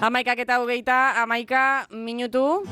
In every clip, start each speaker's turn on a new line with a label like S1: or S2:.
S1: Amaikak eta hogeita, amaika minutu.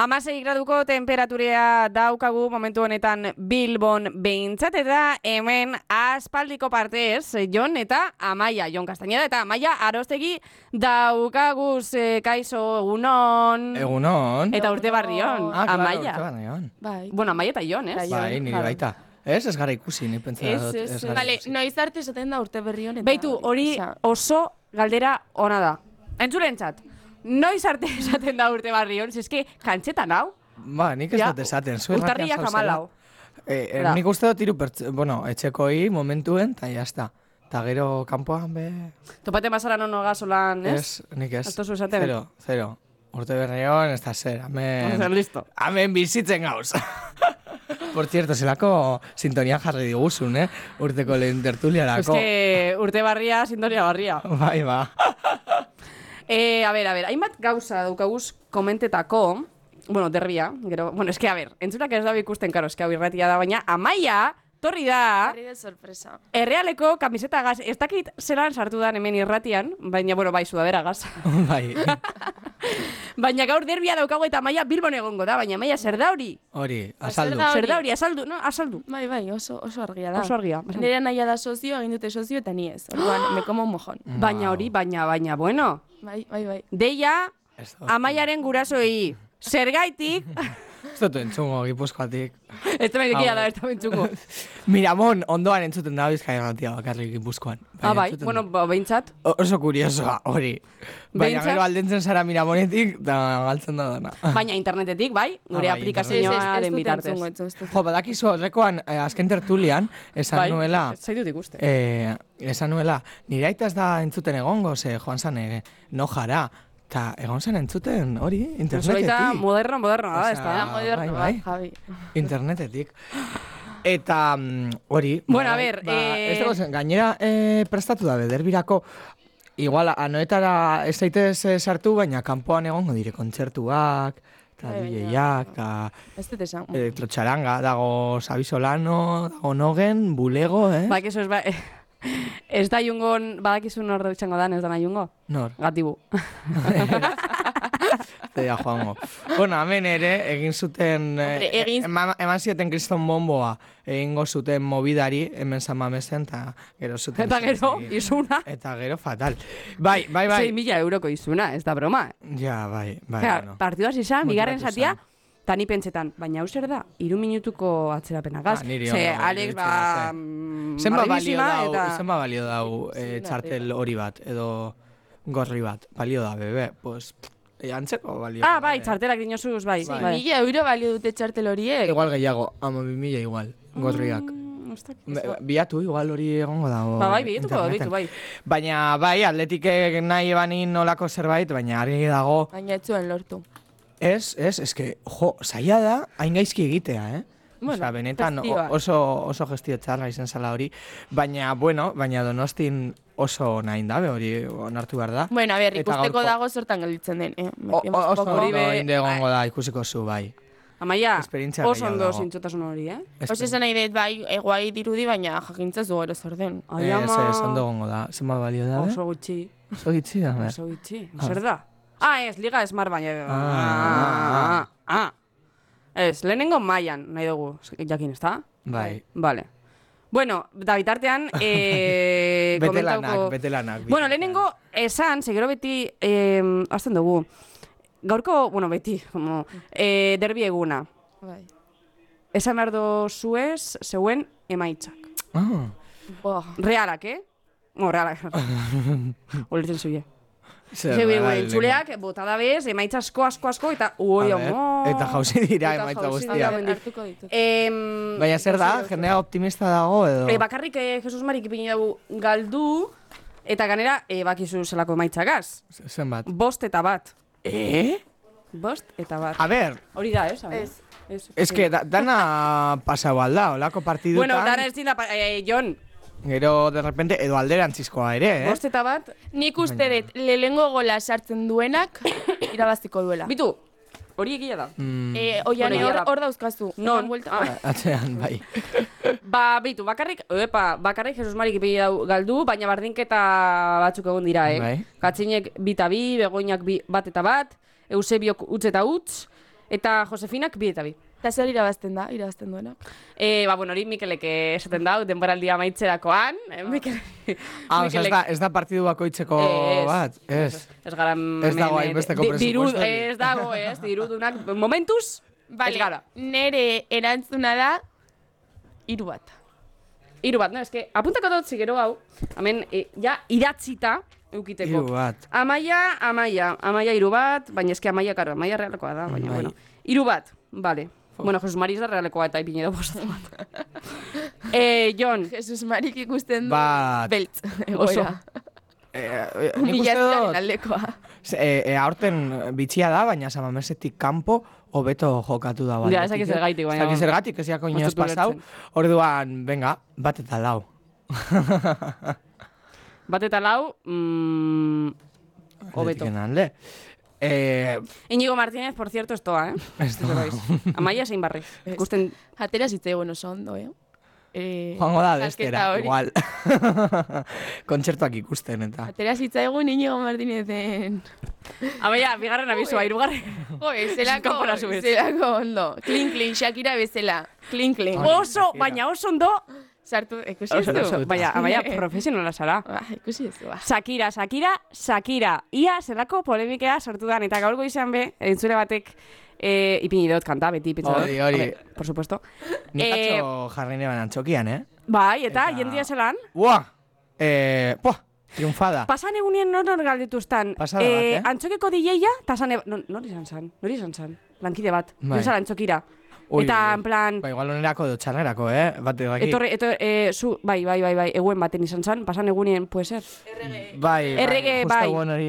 S1: Amasei graduko temperaturea daukagu momentu honetan Bilbon behintzat eta hemen aspaldiko partez Jon eta Amaia, Jon Castañeda eta Amaia Arostegi daukaguz eh, kaixo egunon
S2: Egunon.
S1: Mm. eta urte barrion,
S2: Ah, claro,
S1: Amaia.
S2: urte barrioan.
S3: Bai.
S1: Bueno, Amaia eta Jon, ez?
S3: Bai,
S2: Bai, nire
S3: claro.
S2: baita. Ez, ez gara ikusi, ni pentsa
S1: Ez,
S2: dut.
S1: ez, ez.
S2: gara
S3: Bale,
S2: ikusi.
S3: noiz arte esaten da urte berri honetan. Bai.
S1: Beitu, hori
S3: Osea,
S1: oso galdera ona da. Entzulentzat, noiz arte esaten da urte barrion, zeske kantxetan hau,
S2: Ba, nik ez
S1: Ja,
S2: dut esaten. Zue
S1: urtarriak amalau.
S2: Eh, eh,
S1: Da.
S2: nik uste dut hiru pertz... Bueno, etxekoi momentuen, eta jazta. Eta gero kanpoan be...
S1: Topaten bazara non gasolan, ez?
S2: Ez, nik ez.
S1: Ez duzu esaten.
S2: Zero, zero. Urte berreon, ez da zer,
S1: Zer,
S2: amen...
S1: listo.
S2: Amen bizitzen gauz. Por cierto, zelako sintonian jarri diguzun, eh? Urteko lehen tertuliarako.
S1: Eske urte barria, sintonia barria.
S2: Bai, ba.
S1: E, a ber, a ber, hainbat gauza daukaguz komentetako, bueno, derbia, gero, bueno, eske, a ber, entzulak ez da ikusten, karo, eske hau irratia da, baina Amaia, torri da,
S3: Berri de sorpresa.
S1: errealeko kamiseta gaz, ez dakit zelan sartu dan hemen irratian, baina, bueno, bai, sudadera gaz.
S2: bai,
S1: Baina gaur derbia daukagu eta Amaia Bilbon egongo da, baina Amaia zer da hori?
S2: hori, azaldu.
S3: da
S1: Zer da
S3: Hori.
S1: hori, azaldu, no? Azaldu.
S3: Bai, bai, oso, oso argia da.
S1: Oso argia, bai.
S3: Nire naia da sozio, egin dute sozio eta ni ez. Orduan, me como un mojón.
S2: Ah.
S1: Baina hori, baina, baina, bueno.
S3: Bai, bai, bai.
S1: Deia,
S2: Ez dut-
S1: Amaiaren gurasoei, zergaitik,
S2: Ez dut entzungo, gipuzkoatik.
S1: ez da
S2: Ah,
S1: medekia da,
S2: bai.
S1: ez da bentsuko.
S2: Miramon, ondoan entzuten da bizkaia gatia bakarrik gipuzkoan.
S1: Ah, bai,
S2: entzuten
S1: bueno,
S2: da.
S1: ba, behintzat.
S2: O- Oso kuriosoa, hori. Baina
S1: Behintzat-
S2: gero aldentzen zara Miramonetik, da galtzen da dana.
S1: Baina internetetik, bai, gure
S2: Ah. bai,
S1: aplikazioa
S3: ez
S1: den
S3: dut
S1: bitartez.
S3: entzungo, entzun, ez dut.
S2: Jo, badakizu horrekoan, eh, azken tertulian, esan
S1: Bai,
S2: nuela...
S1: ez zaitut ikusten.
S2: Eh, esan nuela, nire aita ez da entzuten egongo, ze joan zan eh, no jara. Ta egon zen entzuten hori,
S1: Zulaita
S2: internetetik.
S1: moderno, moderno, da,
S2: Osea,
S1: ez da.
S3: Da,
S2: Ah,
S3: moderno,
S2: bai, bai.
S3: bai, Javi.
S2: Internetetik. Eta mm, hori...
S1: Bueno,
S2: ba,
S1: a ber,
S2: ba,
S1: eh,
S2: ez dago zen, gainera eh, prestatu da, bederbirako, igual, anoetara ez zaitez eh, sartu, baina kanpoan egongo dire kontzertuak, eta
S3: Bai, baina-
S2: DJak, eta
S3: Ez dut esan.
S1: Mm.
S2: Eh, elektrotxaranga, dago Xabi Solano, dago Nogen, Bulego, eh?
S1: Ba, eso ez ba... Ez da jungon, badakizun hor txango dan, ez da nahi jungo.
S2: Nor,
S1: Gatibu.
S2: Bai, zeia joango. bueno, hemen ere, egin zuten, eh,
S3: Hombre, egin-
S2: eman, eman zioten kriston bomboa, egingo zuten mobidari, hemen zamamesen, eta gero zuten...
S1: Eta gero,
S2: zertzekin.
S1: izuna.
S2: Eta gero fatal. Bai, bai, bai.
S1: 6 mila euroko izuna, ez da broma.
S2: Ja, bai, bai.
S1: Osea,
S2: bueno.
S1: partiduaz izan, bigarren
S2: Muturatu
S1: zatia,
S2: zen.
S1: eta ni pentsetan, baina hau zer da, iru minutuko atzerapena gaz.
S2: Ah, niri
S1: Ze,
S2: ondo,
S1: Alex,
S2: iruditzen
S1: ba...
S2: da, ze.
S1: mm,
S2: Zenba balio
S1: arribisima
S2: dau,
S1: eta-
S2: zenba balio dau eh,
S3: Izuna
S2: txartel
S3: arriba.
S2: hori bat, edo gorri bat, balio da, bebe, pues, eh, antzeko balio.
S1: Ah,
S2: da,
S1: bai,
S2: eh.
S1: txartelak dinosuz, bai.
S2: Bai.
S1: bai.
S3: Mila euro balio dute txartel horiek.
S2: Igual gehiago, ama bi mila igual, gorriak.
S1: Mm, ez dakit.
S2: Be- Biatu, Ba, igual hori egongo dago.
S1: Ba, bai, bilatuko da,
S2: interneten.
S1: bitu, bai.
S2: Baina, bai, atletikek nahi banin nolako zerbait, baina argi dago,
S3: Baina ez zuen lortu.
S2: Ez, ez, eske, jo, zaila da, hain gaizki egitea, eh?
S3: Bueno,
S2: Osea, benetan o-
S3: gestioa.
S2: oso, oso gestio txarra izen zala hori, baina, bueno, baina donostin oso nahi dabe hori onartu behar da.
S3: Bueno, a ber,
S2: Eta
S3: ikusteko
S2: gaurko-
S3: dago zertan gelditzen den, eh?
S2: O, o, oso
S3: Poco-
S2: ondo
S1: hori be-
S2: inde egongo da ikusiko zu, bai.
S1: Amaia,
S2: Esperientzia
S1: oso
S2: gehiago
S1: ondo
S2: dago.
S1: zintzotasun hori, eh?
S3: Oso esan nahi dut, bai, eh, guai dirudi, baina jakintza zu gero zer den.
S1: Ai,
S2: Ez,
S1: ama,
S2: ez, eh, ondo egongo da. Zenba balio da,
S1: Oso gutxi,
S2: eh? Oso gitzi da, ber.
S1: oso gutxi. Zer da? Ah, ez, liga esmar baina.
S2: Ah.
S1: Ah, ah, ah. Ez, lehenengo mailan nahi dugu, jakin, ezta?
S2: Bai.
S1: Vale. Bueno, da bitartean, eh,
S2: Betelanak,
S1: komentauko-
S2: betelanak.
S1: Bueno, lehenengo esan, segero beti, eh, azten dugu, gaurko, bueno, beti, como, eh, derbi eguna.
S3: Bai.
S1: Esan behar zuez, zeuen emaitzak.
S2: Ah,
S3: Boa.
S1: Realak, eh? Bueno, realak. Oletzen zuie.
S2: zer
S1: Zeu
S2: da,
S1: guen,
S2: lehenengo.
S1: entzuleak, bota da bez, emaitza asko, asko, asko, eta ui,
S2: A ber,
S1: amo.
S2: Eta jauzi dira
S1: Eta
S2: emaitza
S1: jauzi
S2: guztia.
S1: dira, bai.
S3: Hartuko ditut.
S1: Em,
S2: Baina zer da, jendea optimista dago edo...
S1: E, bakarrik eh, Jesus Marik ipini dugu galdu, eta ganera, e, bakizu zelako emaitzagaz.
S2: Zenbat.
S1: Bost eta bat.
S2: Eh?
S1: Bost eta bat.
S2: A ber,
S1: Hori da, ez? Abel?
S3: Ez.
S1: Ez.
S2: es que da, dana pasau alda, olako partidutan,
S1: Bueno, dara ez dira, eh, Jon,
S2: gero de repente edo alderantzizkoa ere, eh?
S1: bost eta bat,
S3: Nik uste dut, lehengo gola sartzen duenak irabaziko duela.
S1: bitu, Hori egia da.
S2: Mm,
S3: Eh, oian,
S1: Bueno,
S3: hor,
S1: ja.
S3: hor dauzkazu.
S1: Non?
S3: Eman buelta.
S1: Ah.
S2: atzean, bai.
S1: Ba, bitu, bakarrik, epa, bakarrik Jesus Marik ipi dau galdu, baina bardinketa batzuk egon dira, eh?
S2: Bai.
S1: Katzinek bi eta bi, Begoinak bi, bat eta bat, Eusebiok utz eta utz, eta Josefinak bi eta bi.
S3: Eta zer irabazten da, irabazten duena.
S1: E, ba, bueno, hori Mikelek eh, esaten dau, denboraldia maitzerakoan, eh, Mikel,
S2: Ah, oza, ez da, ez da partidu bakoitzeko
S1: Ez.
S2: bat, ez.
S1: Ez gara...
S2: Ez dago
S1: hemen, eh,
S2: hainbesteko
S1: di- diru-
S2: presupuestorik.
S1: Ez dago, ez, dirudunak, momentuz, ez gara.
S3: nere erantzuna da, hiru bat.
S1: Hiru bat, no? Eske, apuntako dut zigero hau, hemen, e, ja, idatzita, eukiteko.
S2: Hiru bat.
S1: Amaia, amaia, amaia hiru bat, baina eske amaia, karo, amaia realekoa da, baina,
S2: Bai.
S1: bueno. Hiru bat, vale. Bueno, Jesus Mari ez da realekoa eta ipinedo bostatu bat. eh, Jon,
S3: Jesus Marik ikusten du
S2: Bat.
S3: beltz,
S1: Oso.
S3: egoera.
S2: Eh, eh, nik uste
S3: Humilazioaren
S2: dut,
S3: aldekoa.
S2: ze- eh, eh, aurten bitxia da, baina samamesetik kanpo hobeto jokatu da.
S1: Ja,
S2: baldetik,
S1: ez dakit
S2: eh?
S1: zergaitik, baina
S2: Ez dakit
S1: bueno.
S2: zergatik, ez jako
S1: Ez
S2: inoiz
S1: dut
S2: pasau.
S1: ulertzen.
S2: Orduan, venga, bat eta lau.
S1: bat eta lau, mm, hobeto.
S2: Atletiken alde. Eh,
S1: Iñigo Martínez, por cierto, estoa, eh? Ez
S2: Ez doa.
S1: dakit. Amaia zein barri.
S3: Ez.
S1: Ikusten,
S3: Atera zitzaigun oso ondo, eh? eh
S2: Joango da
S3: salketa
S2: bestera,
S3: hori.
S2: igual. Kontzertuak ikusten eta.
S1: Eh.
S3: Atera zitzaigun Inigo Martinezen.
S1: amaia, bigarren abizua, irugarren.
S3: Jo, zelako,
S1: Kanpora zubez.
S3: zelako ondo. Klin, klin, Shakira bezala. Klin, klin.
S2: Hori.
S1: Oso, baina oso ondo,
S3: Sartu, ikusi ez
S1: oso,
S3: du?
S1: oso, baina, amaia, profesionala zara.
S3: Ba, ikusi ez du, ba.
S1: Shakira, Shakira, Shakira. Ia zelako polemikea sortu dan, eta gaur goizan be, entzule batek e, ipini dut kanta, beti pentsa dut.
S2: Hori, hori.
S1: Hombre, Por supuesto.
S2: Nik
S1: Eh,
S2: atzo jarri neban antzokian, eh?
S1: Bai, eta,
S2: Eta-
S1: jendia zelan,
S2: Buah! Eh, buah! Triunfada.
S1: pasan egunien non hor galdetu estan.
S2: Pasada bat, eh?
S1: Antzokeko dieia, eta zan, e- non, nor izan zan, nor izan zan, lankide bat,
S2: Bai.
S1: bai. antzokira.
S2: Ui,
S1: eta,
S2: ui, ui.
S1: en plan,
S2: Ba, igual onerako edo txarrerako, eh? Bat edo aquí.
S1: etorri, etorri, e, zu, bai, bai, bai, bai, eguen baten izan zan, pasan egunien, puede ser.
S2: Bai,
S1: Errege,
S2: justo
S1: bai.
S2: egun hori.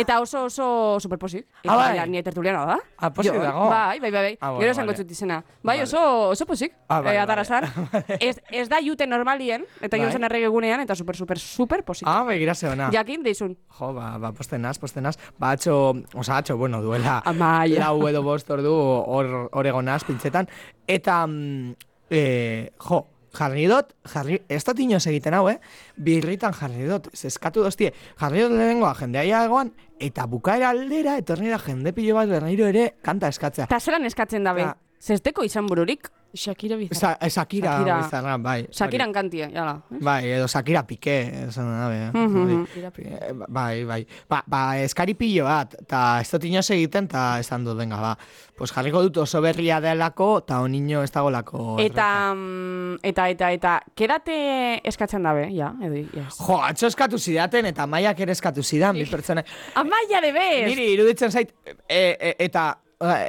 S1: Eta oso, oso superposik. Eta
S2: Ah, bai.
S1: gainera, Ni tertuliana da.
S2: Ah, pozik
S1: Jo,
S2: dago.
S1: Bai, bai, bai, bai.
S2: Ah, bueno,
S1: Gero esango
S2: vale.
S1: txut izena. Bai,
S2: Vale.
S1: oso, oso posik.
S2: Ah, vale,
S1: eh, atara
S2: vale.
S1: zan. ez, ez da jute normalien, eta
S2: Bai.
S1: bai. zen erregegunean, eta super, super, super posik.
S2: Ah, begira zeona.
S1: Jakin, deizun.
S2: Jo, ba, ba, posten naz, posten naz. Ba, atxo, oza, atxo, bueno, duela
S1: Amaia.
S2: lau edo bost ordu hor, hor egon naz, pintzetan. Eta, mm, eh, jo, jarri dot, jarri, ez dut inoz egiten hau, eh? Birritan jarri dot, zeskatu doztie, jarri dot lehenengoa jendea ia egoan, eta bukaera aldera, etorri da jende pilo bat berriro ere kanta eskatzea.
S1: Eta zelan eskatzen dabe.
S2: Ja.
S1: Zesteko izan bururik,
S3: Shakira bizarra.
S2: Sa, eh, Shakira,
S1: Shakira.
S2: Shakira. bai. hori.
S1: sakiran kantie, jala.
S2: Bai, edo Shakira Piqué, esan da, be.
S1: Mhm.
S2: Eh, Bai, bai. Ba, ba eskari pilo bat, eta ez dut inoz egiten, eta esan dut, venga, ba. Pues jarriko dut oso berria delako, eta onino ez dagolako. erreka.
S1: Eta, mm, eta, eta, eta, kedate eskatzen dabe, ja, edo, yes.
S2: Jo, atzo eskatu zidaten, eta maiak ere eskatu zidan, bi pertsona.
S1: Amaia de bez!
S2: Niri, iruditzen zait, e, e, eta,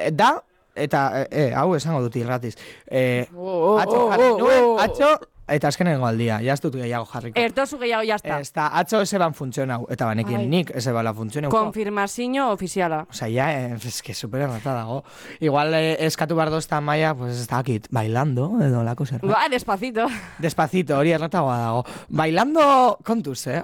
S2: e, da, eta, e, e, hau esango dut irratiz. E,
S3: Oh, oh,
S2: atzo
S3: oh,
S2: jarri
S3: oh,
S2: nuen,
S3: oh.
S2: atzo, eta azkenengo aldia, jaz dut gehiago jarriko.
S1: Ertozu gehiago jazta.
S2: Ez da, atzo ez eban funtzionau, eta banekin
S1: Bai.
S3: Ai.
S2: nik ez ebala funtzionau.
S1: Konfirmazio ofiziala.
S2: Osa, ja, eh, es que super errata dago. Igual eh, eskatu behar dozta maia, pues ez dakit, bailando, edo lako zer.
S1: Ba, despacito.
S2: Despacito, hori erratagoa dago. Bailando kontuz, eh?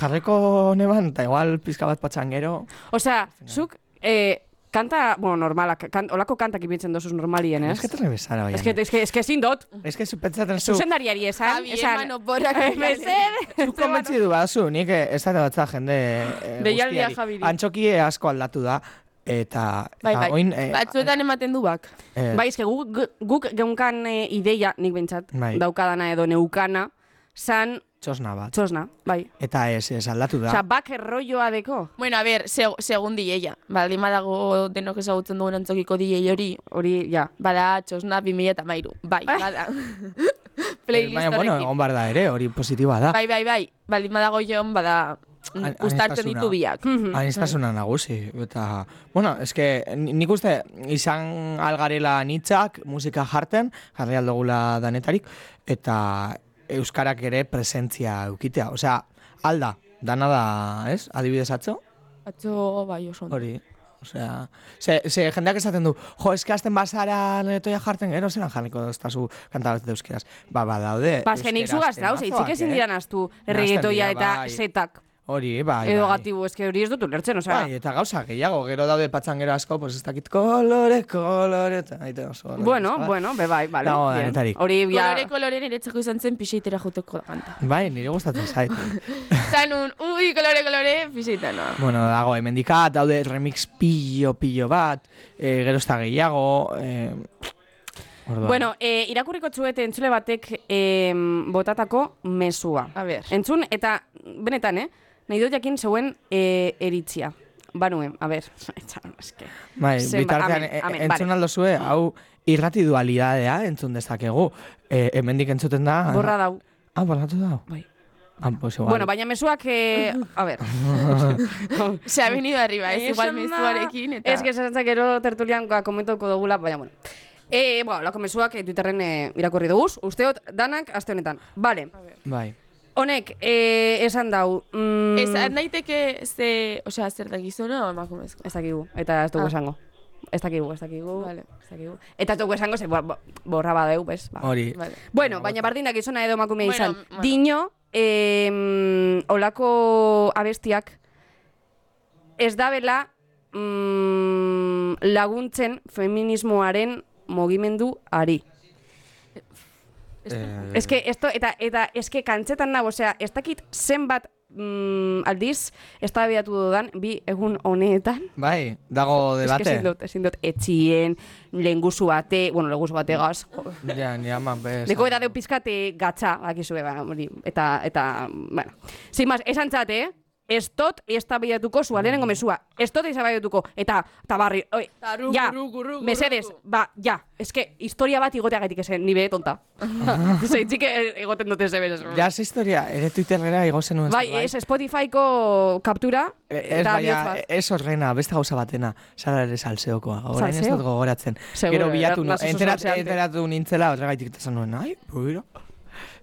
S2: Jarreko neban, eta igual pizka bat patxangero.
S1: Osea, zuk, eh, kanta, bueno, normalak, kan, olako kantak ibiltzen dozuz normalien, ez?
S2: Es que te rebesara, baina.
S1: Ez que, ez que, ez que ezin dot,
S2: Es que zu pentsatzen zu,
S1: zuzendariari esan,
S3: Javi, eman oporrak.
S1: Mesedez,
S2: zu konbentzi du badazu, nik eh, ez da batza jende eh,
S1: Deialdia
S2: guztiari.
S1: Javiri.
S2: Antxoki eh, asko aldatu da, eta,
S3: Bai,
S2: eta
S3: bai.
S2: oin... eh,
S3: Batzuetan ematen du bak.
S2: eh,
S1: Bai, eske guk, guk geunkan eh, ideia, nik bentsat,
S2: Bai.
S1: daukadana edo neukana, san
S2: txosna bat.
S1: txosna, bai.
S2: Eta ez, ez aldatu da.
S1: Osea, bak errolloa deko,
S3: Bueno, a ber, seg segun dieia. Baldin badago denok ezagutzen dugun antzokiko diei hori,
S1: hori, ja.
S3: bada txosna 2013. Bai, bada. Playlist
S2: Baina, bueno,
S3: horrekin.
S2: egon behar da ere, hori positiba da.
S3: Bai, bai, bai. Baldin badago joan, bada... mm,
S2: An-
S3: Uztartzen
S2: aniztasuna.
S3: ditu biak.
S2: Anistasuna Bai. nagusi, eta, bueno, eske, ni- nik uste, izan algarela nitzak, musika jarten, jarri aldogula danetarik, eta euskarak ere presentzia eukitea, osea, alda, dana da, ez, adibidez atzo,
S3: Atzo, bai, oso. ondo.
S2: hori, osea, ze, ze jendeak esaten du, jo, eske azten bazara netoia jarten, gero zelan jarriko doztazu kanta bat euskeraz, ba, ba, daude,
S1: Ba, azkenik
S2: euskera
S1: zugaz dauz,
S2: azten
S1: eitzik ezin
S2: bazoak, eh?
S1: diran astu,
S2: Nahasten
S1: erregetoia
S2: dira,
S1: eta
S2: bai.
S1: setak.
S2: Hori, bai,
S1: Edo
S2: bai.
S1: gatibu, eske hori ez dut ulertzen, osea.
S2: Bai, eta gauza gehiago, gero daude patxangero asko, pues ez dakit kolore, kolore, eta aite oso. kolore,
S1: Bueno,
S2: oso, bai.
S1: bueno, be bai, vale.
S2: Dago
S1: bien.
S2: denetarik.
S1: Hori ja
S3: Kolore, kolore niretzako izan zen pixeitera juteko da kanta.
S2: Bai, nire gustatzen zait.
S3: Zanun, ui, kolore, kolore, pixeita noa.
S2: bueno, dago, hemendikat daude remix pillo, pillo bat, eh, gero eta gehiago, eh, orduan.
S1: Bueno, eh, irakurriko txuete entzule batek eh, botatako mesua.
S3: A ber.
S1: Entzun, eta benetan, eh? Nahi dut jakin zeuen eh, eritzia. Banuen, a ber, etxan, eske.
S2: Bai,
S1: Zenba-
S2: bitartean,
S1: amen,
S2: e-
S1: amen,
S2: entzun
S1: vale.
S2: aldo zue, hau irrati dualidadea entzun dezakegu. E, hemendik entzuten da...
S1: Borra dau.
S2: Ah, borratu da.
S1: Bai.
S2: Ah, pues igual.
S1: Bueno, bai. baina mesuak, eh, a ber.
S3: Se ha venido arriba, Ba, ez igual
S1: Esan da-
S3: mezuarekin, eta...
S1: Ez que esatzen gero tertulian komentauko dugula, baina, bueno. E, bueno, lako mesuak eh, Twitterren eh, irakurri duguz. Usteot, danak, aste honetan. Vale.
S2: Bai.
S1: Honek, eh, esan dau. Mm,
S3: Ez daiteke ze, osea, zer da gizona o emakumezko.
S1: Ez dakigu, eta ez dugu
S3: Ah.
S1: esango. Ez dakigu, ez dakigu,
S3: Vale.
S1: ez dakigu. Eta ez dugu esango, ze bo- bo- borra badeu, bez. Ba.
S2: Hori.
S3: Vale.
S1: Bueno, baina bardin gizona edo emakumea
S3: Bueno,
S1: izan.
S3: bueno.
S1: Dino, em, olako abestiak ez dabela mm, laguntzen feminismoaren mogimendu ari.
S2: Eh,
S1: Ez que, esto, eta, eta eske kantzetan nago, osea, ez dakit zenbat mm, aldiz, ez da dudan, bi egun honetan,
S2: Bai,
S1: Es
S2: dago
S1: que
S2: debate.
S1: ezin dut, ezin dut, etxien, lenguzu bate, bueno, lenguzu bategaz, jo.
S2: Ja, ni ama, bez.
S1: Deko eta deu pizkate gatza, bakizue, ba, hori, eta, eta, bueno. Sin más, esan txate, eh? Ez tot eztabaidatuko zua, lehenengo mesua. Ez tot eztabaidatuko, eta, eta barri, oi,
S3: Ta rugu,
S1: ja,
S3: rugu, rugu,
S1: mesedes,
S3: rugu.
S1: ba, ja, eske, historia bat igoteagatik esen, nibe tonta. Zeitzik eh, egoten dute zebez.
S2: Ja, ez historia, ere Twitterrera igo zenuen.
S1: Bai,
S2: zerbait.
S1: ez Spotifyko kaptura,
S2: E- Ez
S1: eta
S2: baina,
S1: bihotz bat.
S2: ez horrena, beste gauza batena, zara ere salseokoa, orain ez
S1: Salseo?
S2: dut gogoratzen.
S1: Seguro,
S2: Gero bilatu,
S1: era-
S2: no,
S1: nazo oso
S2: enterat,
S1: salseante.
S2: enteratu nintzela, horregaitik eta nuen, ai, buiro,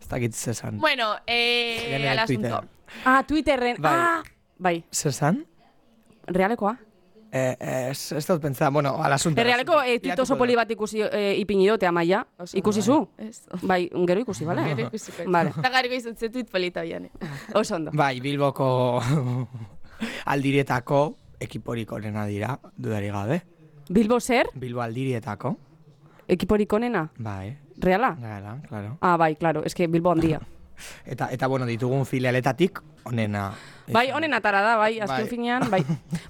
S2: ez dakit zesan.
S3: Bueno, eh,
S2: Genera
S3: al asunto.
S2: Twitter.
S1: Ah, Twitterren,
S2: Bai.
S1: ah! Bai,
S2: Zesan?
S1: realekoa.
S2: Eh, eh, ez, ez dut pentsa, bueno, al asunto.
S1: Errealeko eh, tuit oso
S2: Bilatuko
S1: poli
S2: dut.
S1: bat ikusi, eh, ipini dute amaia.
S3: Oso
S1: Ikusi
S3: ondo,
S1: zu?
S3: Ez.
S1: Bai, gero ikusi,
S3: Gero
S1: bale?
S3: ikusiko.
S1: Vale.
S3: Eta garriko izan ze tuit polita eh. bian.
S1: Oso ondo.
S2: Bai, Bilboko aldirietako ekiporik onena dira, dudari gabe.
S1: Bilbo zer?
S2: Bilbo aldirietako,
S1: Ekiporik onena?
S2: bai,
S1: Reala?
S2: gara, claro.
S1: Ah, bai, claro, eske Bilbo handia.
S2: Eta, eta bueno, ditugun filialetatik onena.
S1: Bai, honen atara da, bai, azken
S2: Bai.
S1: finean, bai.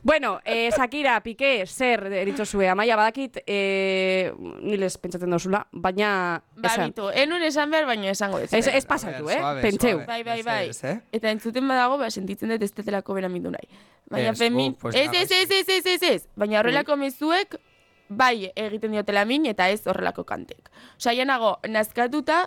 S1: bueno, eh, Shakira, Piqué, zer, eritzozue, amaia badakit, eh, niles pentsatzen dozula, baina...
S3: Ba,
S1: esan.
S3: bitu, enun esan behar baino esango ez.
S1: Ez, ez pasatu, eh?
S2: suave,
S1: Pentseu.
S2: suave.
S3: Bai, bai, bai.
S2: Mesedez, eh?
S3: Eta entzuten badago, ba, sentitzen dut ez tetelako bera mindu nahi. Baina
S2: Ez,
S3: femin...
S2: uh, pues
S3: ez,
S2: nada,
S3: ez, ez, ez, ez, ez, ez. Baina horrelako mezuek, bai, egiten diotela min, eta ez horrelako kantek. Osa, nago, nazkatuta,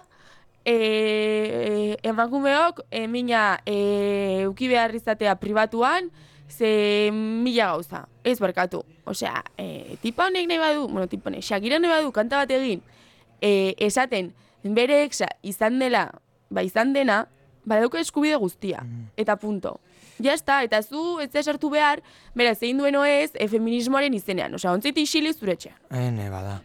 S3: e, emakumeok, e, mina, e, uki behar izatea pribatuan, ze mila gauza, ez barkatu. Osea, e, tipa honek nahi badu, bueno, tipa honek, Shakira nahi badu, kanta bat egin, e, esaten, bere exa izan dela, ba izan dena, badauka eskubide guztia, eta punto. Ja está, eta zu ez da sartu behar, bera zein duen oez, e, feminismoaren izenean, osea, ontzit isili zure etxean.
S2: Ene, bada.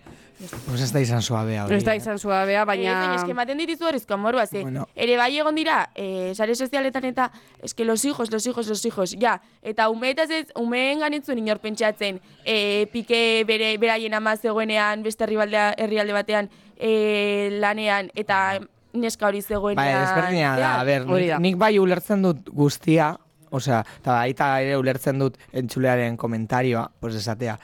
S2: Pues ez da izan suabea hori.
S1: Ez da
S2: eh?
S1: izan suabea,
S3: Baina...
S1: baina...
S3: Eh, Ez, eske ematen ditizu horrezko amorua, ze.
S2: Bueno.
S3: Ere bai egon dira, eh, sare sozialetan eta, eske los hijos, los hijos, los hijos, ja. Eta umeetaz ez, umeen ganetzun inor pentsatzen, eh, pike bere, beraien ama zegoenean, beste herrialdea, herrialde batean, eh, lanean, eta neska hori zegoenean.
S2: Bai, ezberdina da,
S3: Ja.
S2: a ber,
S1: Hori
S2: nik,
S1: da.
S2: nik bai ulertzen dut guztia, osea, eta baita ere ulertzen dut entzulearen komentarioa, pues esatea,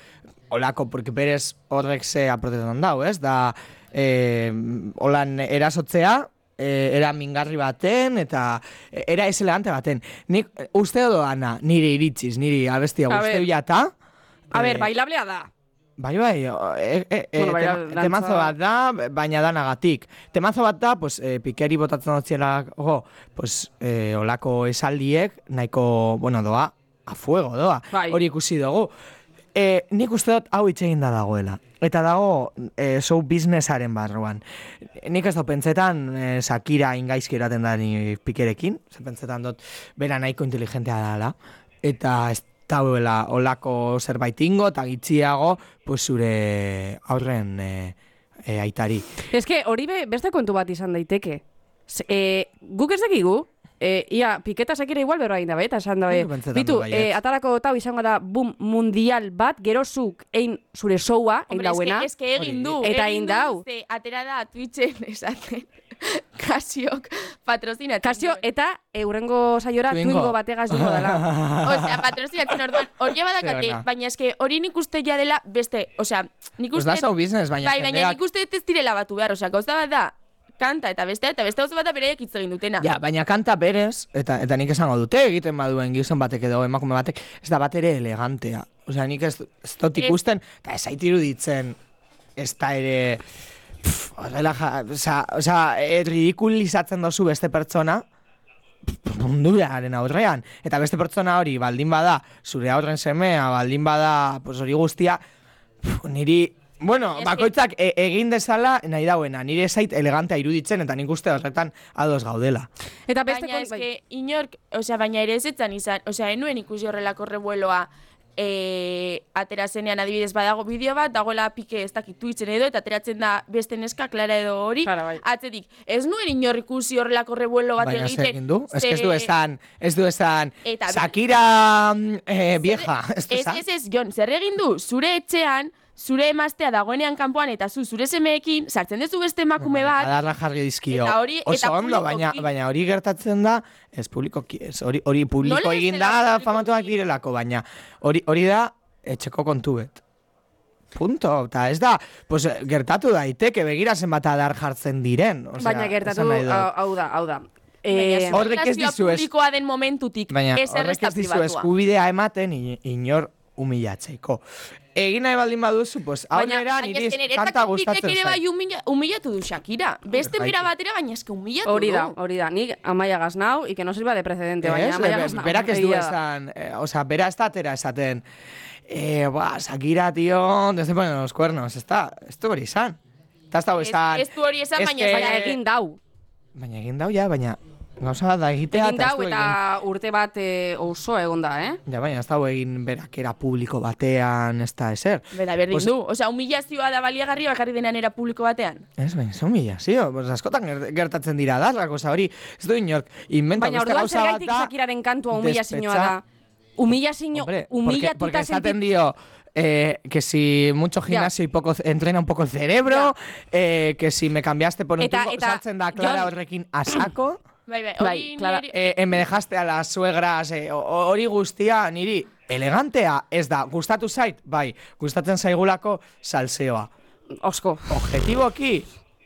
S2: olako, porque berez horrek ze aprotetan dau, ez? Da, eh, olan erasotzea, eh, era mingarri baten, eta eh, era ez elegante baten. Nik eh, uste doana, nire iritziz, nire abestia eh,
S1: A
S2: uste
S1: ber.
S2: jata,
S1: A ber, bailablea da.
S2: Bai, bai, o- e, e, e,
S1: Bueno, bai,
S2: tema-
S1: dantza-
S2: temazo bat da, baina danagatik. Temazo bat da, pues, e, pikeri botatzen dutziela, go, pues, e, olako esaldiek, nahiko, bueno, doa, a fuego doa,
S1: Bai.
S2: hori ikusi dugu. E, nik uste dut hau itxegin da dagoela. Eta dago, e, show businessaren barruan. Nik ez dut pentsetan, e, Sakira ingaizki eraten da ni pikerekin, ze pentsetan dut, bera nahiko inteligentea dela. Eta ez dauela olako zerbait ingo, eta gitziago, pues zure aurren e, e, aitari.
S1: Ez que hori be, beste kontu bat izan daiteke. Z, e, eh, guk ez dakigu, e, ia, piketa sekire igual bero da, bai? eta esan dabe.
S2: Nik pentsetan
S1: Bitu,
S2: dut bai, baietz.
S1: e, atarako eta izango da boom mundial bat, gero zuk egin zure showa, egin
S3: Hombre,
S1: dauena.
S3: eske, eske egin du.
S1: Eta egin
S3: du,
S1: dau.
S3: Ze, atera da Twitchen esaten. Kasiok patrozinatzen.
S1: Kasio,
S3: duen.
S1: eta eurrengo saiora
S2: Twingo.
S1: twingo bategaz dugu dela.
S3: Osea, patrozinatzen orduan, hori badakate,
S2: Ze ona.
S3: baina eske hori nik uste ja dela beste, osea, nik
S2: Pues
S3: uste...
S2: da zau business, baina
S3: bai, baina
S2: jendeak-
S3: nik uste ez direla batu behar, osea, gauza bat da, kanta eta beste, eta beste gauza bat da bereiek hitz egin dutena.
S2: Ja, baina kanta berez, eta, eta nik esango dute egiten baduen gizon batek edo emakume batek, ez da bat ere elegantea. Osea, nik ez, ez dut
S3: Ez.
S2: ikusten, eta ez aitiru ditzen, ez da ere... pff, Horrela, ja- osea, osea, eh, ridikulizatzen dozu beste pertsona, pff, munduaren aurrean. Eta beste pertsona hori, baldin bada, zure aurren semea, baldin bada, pues hori guztia, pff, niri... Bueno,
S3: Ez-
S2: bakoitzak e- egin dezala nahi dauena, nire zait elegantea iruditzen, eta nik uste horretan ados gaudela.
S1: Eta beste bai.
S3: Baina
S1: kon...
S3: eske inork, osea, baina ere ezetzan izan, osea, enuen ikusi horrelako revueloa eh, atera zenean adibidez badago bideo bat, dagoela pike ez dakit Twitchen edo, eta ateratzen da beste neska, Clara edo hori,
S1: Clara, bai.
S3: atzetik, ez nuen inor ikusi horrelako revuelo bat
S2: Baina
S3: egiten.
S2: zer egin du? Ez que ez du
S3: ze-
S2: esan, ez du esan,
S3: Eta bi-
S2: Shakira mm, eh, vieja, ez du
S3: Ez,
S2: esan?
S3: ez, ez, Jon, zer egin du? Zure etxean, zure emaztea dagoenean kanpoan eta zu zure semeekin sartzen duzu beste emakume bat,
S2: Adarra jarri dizkio.
S3: Eta hori-
S2: Oso
S3: eta
S2: ondo, baina,
S3: publikoki-
S2: baina hori gertatzen da, ez publikoki, ez, hori, hori publiko
S3: Nola ez
S2: egin
S3: dela
S2: da, da
S3: publikoki?
S2: famatuak direlako, baina hori, hori da, etxeko kontu bet. Punto, eta ez da, pues, eh, gertatu daiteke begira zenbat adar jartzen diren. Osea,
S1: Baina gertatu,
S2: esan nahi dut.
S1: hau hau da, hau da.
S3: baina
S1: Eh,
S3: zure
S2: horrek ez
S3: relazioa
S2: dizu ez-
S3: publikoa den momentutik,
S2: Baina
S3: ez
S2: horrek
S3: errezta
S2: ez dizu
S3: pribatua.
S2: eskubidea ematen i- inor humilatzeiko. Egin nahi baldin baduzu, pues, aurrera niri
S3: eske nire
S2: kanta
S3: taktikek
S2: gustatzen
S3: ere
S2: zait. Bai.
S3: bai humila- humillatu du Shakira. Beste
S2: Baiki.
S3: mira batera, baina eske humillatu
S1: hori da,
S3: du.
S1: hori da. Nik amaia gaznau, y que no sirva de precedente,
S2: Ez,
S1: baina amaia
S2: be-
S1: gaznau.
S2: berak ez du
S1: Egia da.
S2: esan, eh, osea, bera ez da atera esaten, eh, ba, Shakira, tío, te estoy poniendo los cuernos, ez da, ez du hori esan. Eta ez dago
S3: Ez-
S2: esan.
S3: ez du hori esan,
S2: "Es
S3: baina
S2: que-
S1: Baina egin dau.
S2: Baina egin dau, ja, baina gauza bat da egitea,
S1: Egin
S2: eta ez
S1: dau
S2: du
S1: eta
S2: egin.
S1: urte bat eh, oso egon da, eh?
S2: Ja, baina ez dago egin berakera publiko batean, ez da ezer.
S3: Bera, Bai, berdin
S2: Pues-
S3: du. Osea, humillazioa da baliagarri bakarri dena nera publiko batean.
S2: Ez, baina zeu mila, zio, pues, askotan ger- gertatzen dira da, la cosa hori, ez du inork, inventa
S1: Baina
S2: Ba, beste
S1: orduan
S2: gauza bat
S1: zergaitik
S2: da,
S1: Shakiraren kantua humilla zinoa da.
S2: despetxa-
S1: Humilla zino,
S2: Hombre,
S1: humilla
S2: porque, porque esaten dio, eh, que si mucho gimnasio y poco, entrena un poco el cerebro, eh, que si me cambiaste por un
S1: Eta-
S2: tubo,
S1: eta,
S2: sartzen da Clara
S1: Jon-
S2: horrekin asako,
S3: Bai, bai,
S1: Bai,
S3: hori
S1: Clara,
S3: niri-
S2: eh, eh, me dejaste a las suegras, eh, o- hori guztia, niri, elegantea, ez da, gustatu zait, bai, gustatzen zaigulako salseoa.
S1: Osko.
S2: Objetiboki,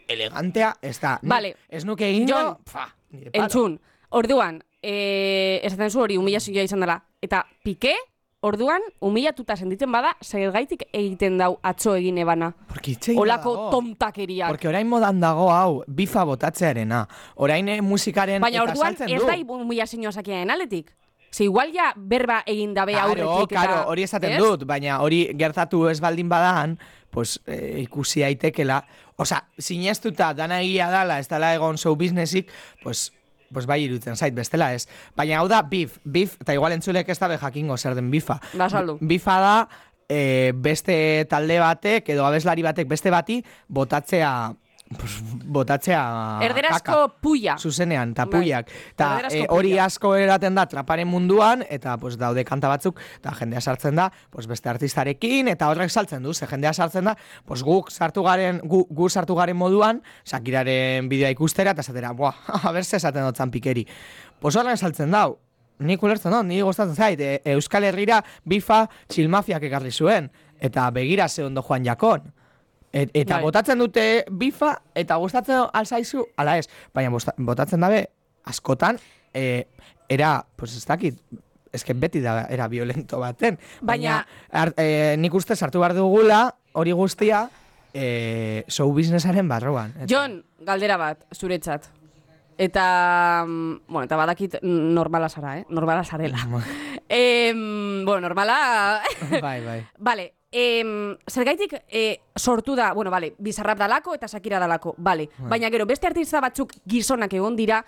S2: elegantea, ez da. Ni-
S1: Vale.
S2: Ez nuke egingo,
S1: Jon,
S2: pfa, nire palo.
S1: Entzun, orduan, eh, esaten zu hori humilla zinoa izan dela. Eta pike, orduan, humillatuta sentitzen bada, zergaitik egiten dau atzo egin ebana.
S2: Porque hitz egin
S1: Olako
S2: badago.
S1: tontakeriak.
S2: Porque orain modan dago hau, bifa botatzearena. Orain eh, musikaren
S1: Baina
S2: eta
S1: orduan
S2: saltzen
S1: ez
S2: du.
S1: da humilla zinoa sakiaren aletik. Ze igual ja berba egin dabe
S2: Claro,
S1: aurretik. eta-
S2: claro, hori esaten
S1: Ez?
S2: dut, baina hori gertatu ez baldin badan, pues eh, ikusi aitekela, osea, sinestuta dana egia dala, ez dala egon show businessik, pues pues bai irutzen zait, bestela ez. Baina hau da bif, bif, eta igual entzulek ez da jakingo zer den bifa.
S1: Ba, saldu.
S2: Bi- Bifa da, eh, beste talde batek, edo abeslari batek beste bati, botatzea, pues, botatzea
S1: Erderazko
S2: Ah, kaka.
S1: puia.
S2: Zuzenean, eta
S1: Bai.
S2: puiak. Eta
S1: Erderazko
S2: eh, hori
S1: puiak.
S2: asko eraten da traparen munduan, eta pues, daude kanta batzuk, eta jendea sartzen da, pues, beste artistarekin, eta horrek saltzen du, ze jendea sartzen da, pues, guk sartu garen, gu, gu sartu garen moduan, sakiraren bideoa ikustera, eta esatera, buah, haberse esaten dut pikeri. Pues horren saltzen dau, nik ulertzen dut, ni gustatzen zait, e, Euskal Herrira bifa txilmafiak ekarri zuen, eta begira ze ondo joan jakon. Et, eta
S1: Bai.
S2: botatzen dute bifa, eta gustatzen alzaizu, ala ez. Baina bosta- botatzen dabe, askotan, eh, era, pues ez dakit, eske beti da, era violento baten.
S1: Baina-
S2: ar, eh, nik uste sartu behar dugula, hori guztia, eh, show businessaren barruan. Eta-
S1: Jon, galdera bat, zuretzat. Eta, mm, bueno, eta badakit mm, normala zara, eh? Normala zarela. em, bueno, normala...
S2: bai, bai.
S1: vale, em, zergaitik eh, sortu da, bueno, vale, bizarrap dalako eta sakira dalako, vale. Baina gero, beste artista batzuk gizonak egon dira,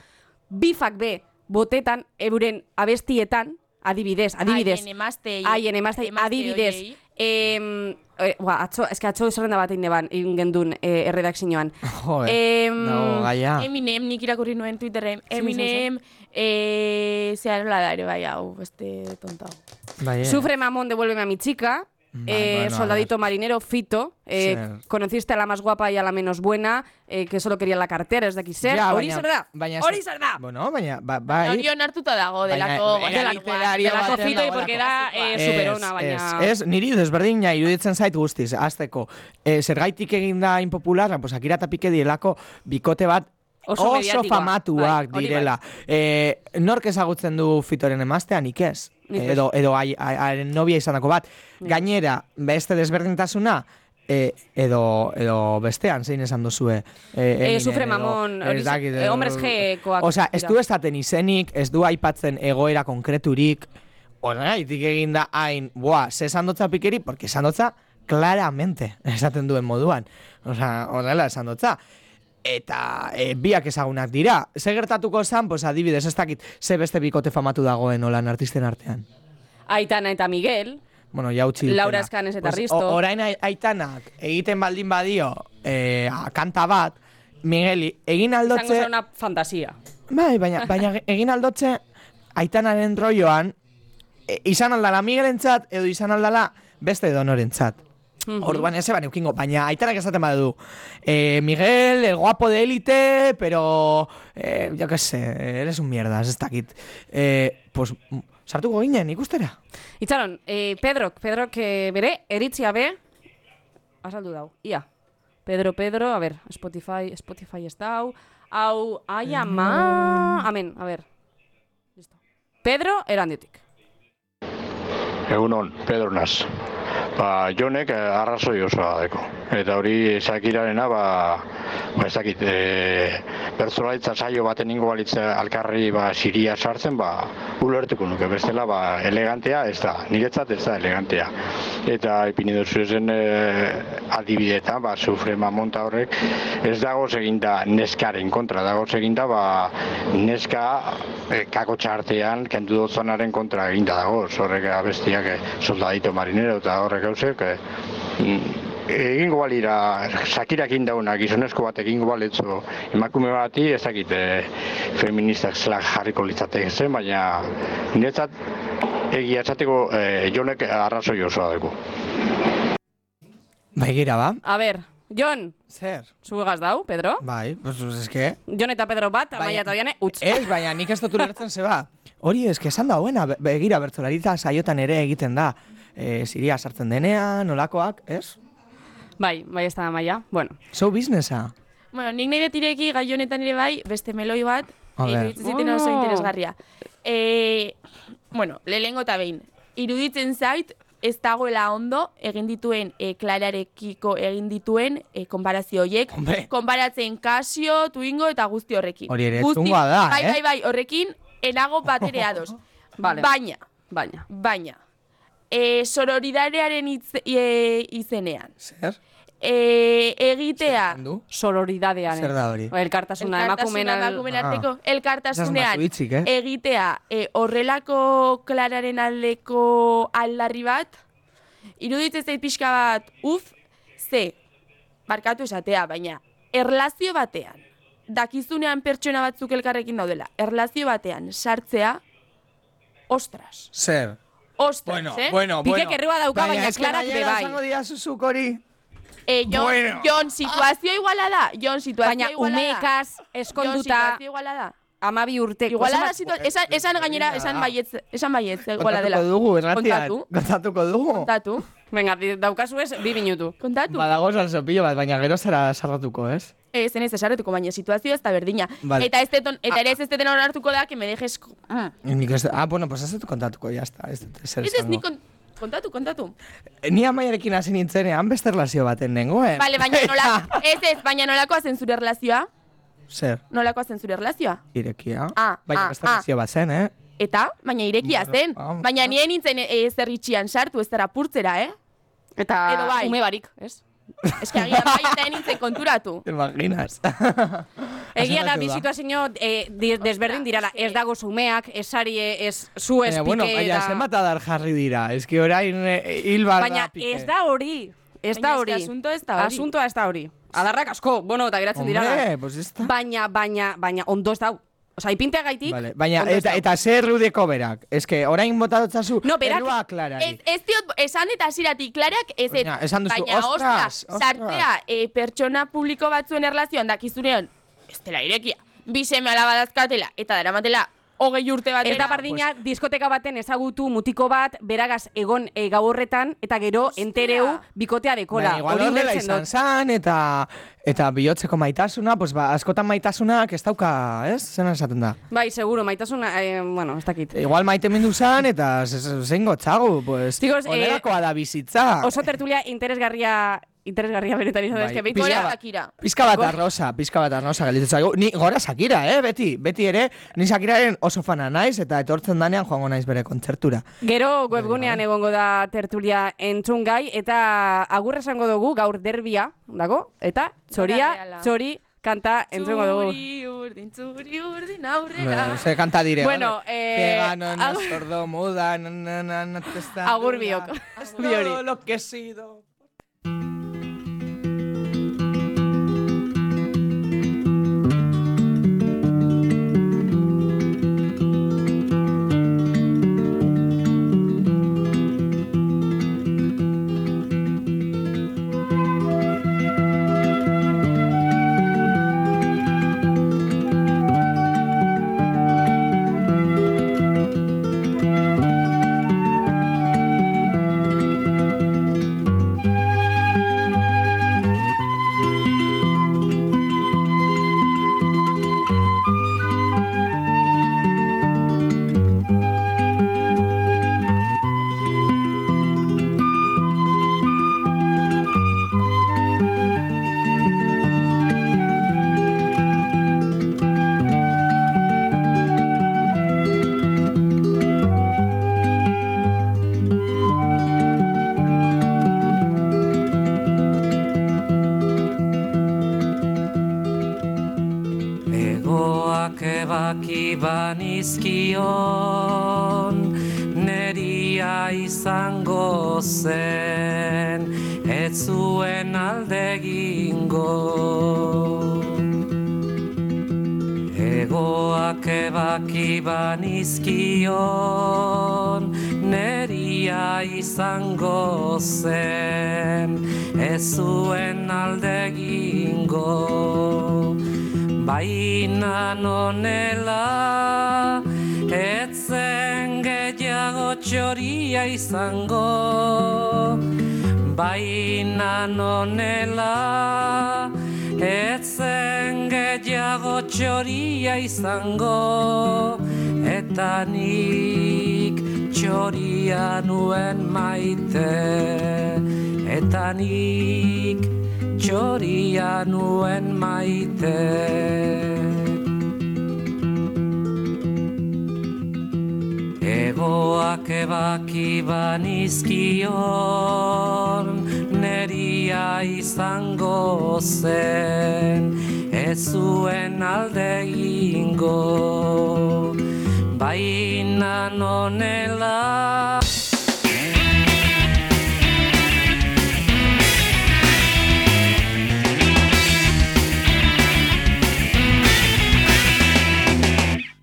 S1: bifak be, botetan, euren abestietan, adibidez, adibidez.
S3: Haien emazte.
S1: Haien emazte, adibidez.
S3: horiei.
S1: Em, e, ba, atzo, eske atzo zerrenda bat egin neban, egin gendun e, erredakzioan.
S2: Joder,
S1: Em,
S2: dago gaia.
S3: Eminem, nik irakurri nuen Twitterren.
S1: sí,
S3: Eminem, eh, zehar nola da ere bai hau, beste tontau.
S2: Bai, eh.
S1: Sufre mamón, devuélveme a mi chica.
S2: Vale,
S1: eh,
S2: bueno, a
S1: soldadito marinero, Fito. eh,
S2: Zer.
S1: conociste a la más guapa y a la menos buena, eh, que solo quería la cartera, ez daki zer.
S2: Ja,
S1: hori
S2: baina-
S1: zer da?
S2: baina-
S1: hori zer da?
S2: Bueno, baina, ba, bai.
S3: Hori onartuta dago, delako,
S2: Baina, era
S3: delako-
S2: literario
S3: delako
S2: baten
S3: fito,
S2: dagoelako.
S3: porque da, eh,
S1: Ez, superona, baina-
S2: Ez, ez, niri desberdina iruditzen zait guztiz, azteko. E, zergaitik egin da impopularra, pues Akira eta Pique direlako bikote bat
S1: Oso
S2: oso,
S1: mediatikoa. Bai,
S2: famatuak
S1: hori
S2: direla. E, nork ezagutzen du fitoren emaztea, nik ez.
S1: Nik ez.
S2: Edo, edo ai- ai- haren nobia izanako bat. Gainera, beste desberdintasuna, e, edo, edo bestean, zein esan duzue. E, Eminem,
S1: Eh, Sufre
S2: edo-
S1: Mamon,
S2: ez
S1: hori-
S2: dakit,
S1: eh,
S2: edo-
S1: Hombres G-koak
S2: Osea, ez
S1: dira.
S2: du esaten izenik, ez du aipatzen egoera konkreturik, horregaitik egin da hain, boa, ze esan dotza pikeri, porque esan dotza claramente, esaten duen moduan. Osea, horrela esan dotza. Eta e, biak ezagunak dira. Ze gertatuko zan, pues, adibidez, ez dakit, ze beste bikote famatu dagoen olan artisten artean.
S1: Aitana eta Miguel.
S2: Bueno, ja utzi
S1: Laura
S2: dutena.
S1: Escanes eta
S2: Pues,
S1: Risto.
S2: o- Orain ai- aitanak egiten baldin badio eh, a- kanta bat, Migueli, egin
S1: Zango
S2: aldotze...
S1: zen una fantasía.
S2: Bai, baina, baina ge- egin aldotze aitanaren rolloan e, izan aldala Miguelentzat edo izan aldala beste edonorentzat. Orduan ese ban eukingo, baina aitanak esaten badu. Eh, Miguel, el guapo de élite, pero eh, yo qué sé, eres un mierda, ez dakit. Eh, pues mm, sartuko ginen ikustera.
S1: Itxaron, eh, Pedrok, Pedrok eh, bere, eritzia be, azaldu dau, ia. Pedro, Pedro, a ver, Spotify, Spotify ez dau, hau, ai ama, amen, a ver. Listo. Pedro, eranditik.
S4: Egunon, Pedro Naz. Ba, jonek eh, arrazoi osoa deko. Eta hori ezakirarena, ba, ba ez dakit, e, bertzolaritza saio baten ingo balitza alkarri ba, siria sartzen, ba, ulertuko nuke, bestela, ba, elegantea ez da, niretzat ez da elegantea. Eta ipini duzu ezen e, adibidetan, ba, sufre mamonta horrek, ez dago eginda neskaren kontra, dago eginda, ba, neska e, kako txartean, kendu dozanaren kontra eginda dago, horrek abestiak e, soldadito marinero eta horrek hausek, e, mm, egingo balira, sakirak indauna, gizonezko bat egingo baletzo, emakume bati ez dakit e, feministak zelak jarriko litzateke zen, baina niretzat egia esateko e, jonek arrazoi osoa dugu.
S2: Bai, gira, ba?
S1: A ver, Jon,
S2: Zer?
S1: zuegaz dau, Pedro?
S2: Bai, pues, pues eske...
S1: Jon eta Pedro bat,
S2: Baina- Eh?
S1: amaia eta diane, utz.
S2: Ez, baina nik ez dut ulertzen ba. zeba. Hori eske esan dagoena, be- begira bertsolaritza saiotan ere egiten da. E, ziria sartzen denean, nolakoak, ez?
S1: Bai, bai ez da amaia, bueno.
S2: Show businessa.
S3: Bueno, nik nahi dut ireki gai honetan ere bai, beste meloi bat,
S2: A ber.
S3: iruditzen ziten oso
S1: Oh.
S3: interesgarria. E, bueno, lehengo eta behin, iruditzen zait, ez dagoela ondo, egin dituen, e, klararekiko egin dituen, e, konparazio horiek,
S2: Hombre.
S3: konparatzen kasio, tuingo eta guzti horrekin.
S2: Hori ere
S3: Guzti-
S2: zungoa da,
S3: bai,
S2: eh?
S3: Bai, bai, horrekin, enago bat ere ados.
S1: Vale.
S3: Baina,
S1: Baina,
S3: baina, e, sororidarearen hitz- e, izenean,
S2: Zer?
S3: e, egitea,
S2: Du?
S1: sororidadearen.
S2: Zer da hori?
S1: Elkartasuna, emakumeen... al-
S3: emakumeen
S2: Ah.
S3: arteko elkartasunean
S2: Esas matzuitzik, eh?
S3: egitea eh, horrelako klararen aldeko aldarri bat, iruditzen zait pixka bat uf, ze, barkatu esatea, baina erlazio batean, dakizunean pertsona batzuk elkarrekin daudela, erlazio batean sartzea, ostras,
S2: Zer?
S3: ostras, eh?
S1: Pikek errua dauka, baina
S2: eske
S1: Klarak
S2: gainera
S1: be bai.
S2: esango dira zuzuk hori.
S3: Eh, Jon,
S2: Bueno.
S3: Jon, situazio iguala da, Jon, situazio
S1: Baina
S3: iguala da.
S1: umekaz,
S3: Jon,
S1: eskonduta,
S3: situazio iguala da.
S1: amabi urteko.
S3: Iguala da
S1: zenbat-
S3: situa... Esan, esan gainera, esan baietz, esan baietz, eh, iguala dela.
S2: Kontatuko dugu, erratian.
S3: Kontatu,
S2: Kontatuko dugu.
S3: kontatu,
S1: Venga, di- daukazu ez, bi minutu.
S3: kontatu. Eh,
S2: Badago salsopillo bat, baina gero zara sarratuko, ez?
S3: Ez, enez esarretuko, baina situazio ez da berdina.
S2: Vale. Ah.
S3: Eta ez teton, eta ere ez ez teton hartuko da, que me dejes... ko- Mm.
S2: Nik ez, ah, bueno, pues ez dut kontatuko, jazta. Ez dut ezer
S3: Ez ez,
S2: esango. Eh,
S3: nik kon- kontatu, kontatu.
S2: Ni amaiarekin hasi nintzenean beste erlazio baten nengoen.
S3: Vale, baina nola... Ez ez, baina nolakoa zen zure erlazioa?
S2: Zer,
S3: Nolakoa zen zure erlazioa?
S2: irekia.
S3: Ah,
S2: baina
S3: ah,
S2: beste erlazio bat zen, eh?
S3: Eta, baina irekia
S2: Bueno,
S3: zen.
S2: ah,
S3: Baina
S2: ah.
S3: nien nintzen e- ezer itxian sartu, ez zara purtzera, eh?
S1: Eta
S2: Ah,
S3: Edo bai.
S1: ume barik, ez?
S3: Ez que agian bai, eta nintzen konturatu.
S2: Te imaginas.
S1: Egia da,
S2: Asmatu
S1: bi
S2: da.
S1: situazio eh, di- desberdin dirala. Ez dago zumeak, ez sarie, ez zu ez
S2: Baina, Eh, bueno,
S1: Pique
S2: baina
S1: da-
S2: zenbat adar jarri dira. Ez que orain eh, hil barra
S1: Baina
S2: Pique.
S1: ez da hori. Ez da
S3: Baina eske
S1: hori.
S3: asuntoa ez da hori.
S1: Asuntoa ez da hori. Adarrak asko, bueno, eta geratzen dira. da.
S2: Hombre, pues ez da.
S1: Baina, baina, baina, ondo ez da. Osa, ipintea gaitik.
S2: Vale, baina,
S1: ondo ez
S2: eta,
S1: dau.
S2: eta zer rudeko berak. Ez que, orain botadotzazu,
S1: No, berak-
S2: errua klarari.
S3: Ez, ez diot, esan eta hasieratik klarak ez ez.
S2: Baina, esan duzu,
S3: Baina,
S2: "Ostras, ostras."
S3: sartzea eh, pertsona publiko batzuen erlazioan dakizunean, ez dela irekia, bi seme alaba dauzkatela, eta daramatela hogei urte batera.
S1: Ez da bardina, diskoteka baten ezagutu mutiko bat, beragaz egon e, gau horretan, eta gero entereu bikotea dekola.
S2: Baina igual
S1: Hori
S2: horrela
S1: ulertzen
S2: izan
S1: dut.
S2: zan, eta, eta bihotzeko maitasuna, pues ba, askotan maitasunak ez dauka, ez? Zena esaten da.
S1: Bai, seguro, maitasuna, eh, bueno, ez dakit.
S2: Igual maite mindu zan, eta ze- ze- zein gotzago, pues,
S1: Digo, eh,
S2: honelakoa da bizitza.
S1: Oso tertulia interesgarria, interesgarria benetan izan da,
S2: Bai,
S1: eske behin
S2: pila
S3: Gora
S1: gora-
S2: bat.
S3: dakira.
S2: Pizka bat arrosa, pizka bat arrosa gelditzen zaigu. Ni gora Shakira, eh, beti, beti ere, ni Shakiraren oso fana naiz eta etortzen danean joango naiz bere kontzertura.
S1: Gero webgunean egongo da tertulia entzun gai, eta agurra esango dugu gaur derbia, dago, eta txoria,
S3: Reala.
S1: txori kanta entzungo dugu.
S3: Zuri urdin, zuri urdin aurrera.
S2: Se Eh, kanta dire.
S1: Bueno, eh,
S2: Pegano, no
S1: agur-
S2: sordo, muda, na, na, na, na, testa
S1: Agur
S2: dura.
S1: biok.
S2: Es
S1: Bi hori.
S2: todo lo que he sido.
S5: Begoak ebaki banizkion Neria izango zen Ez zuen alde egingo Egoak ebaki banizkion Neria izango zen Ez zuen alde egingo Baina nonela Etzen gehiago txoria izango Baina nonela Etzen gehiago txoria izango Eta nik txoria nuen maite Eta nik txoria nuen maite Egoak ebaki banizkion neria izango zen ez zuen alde egingo baina nonela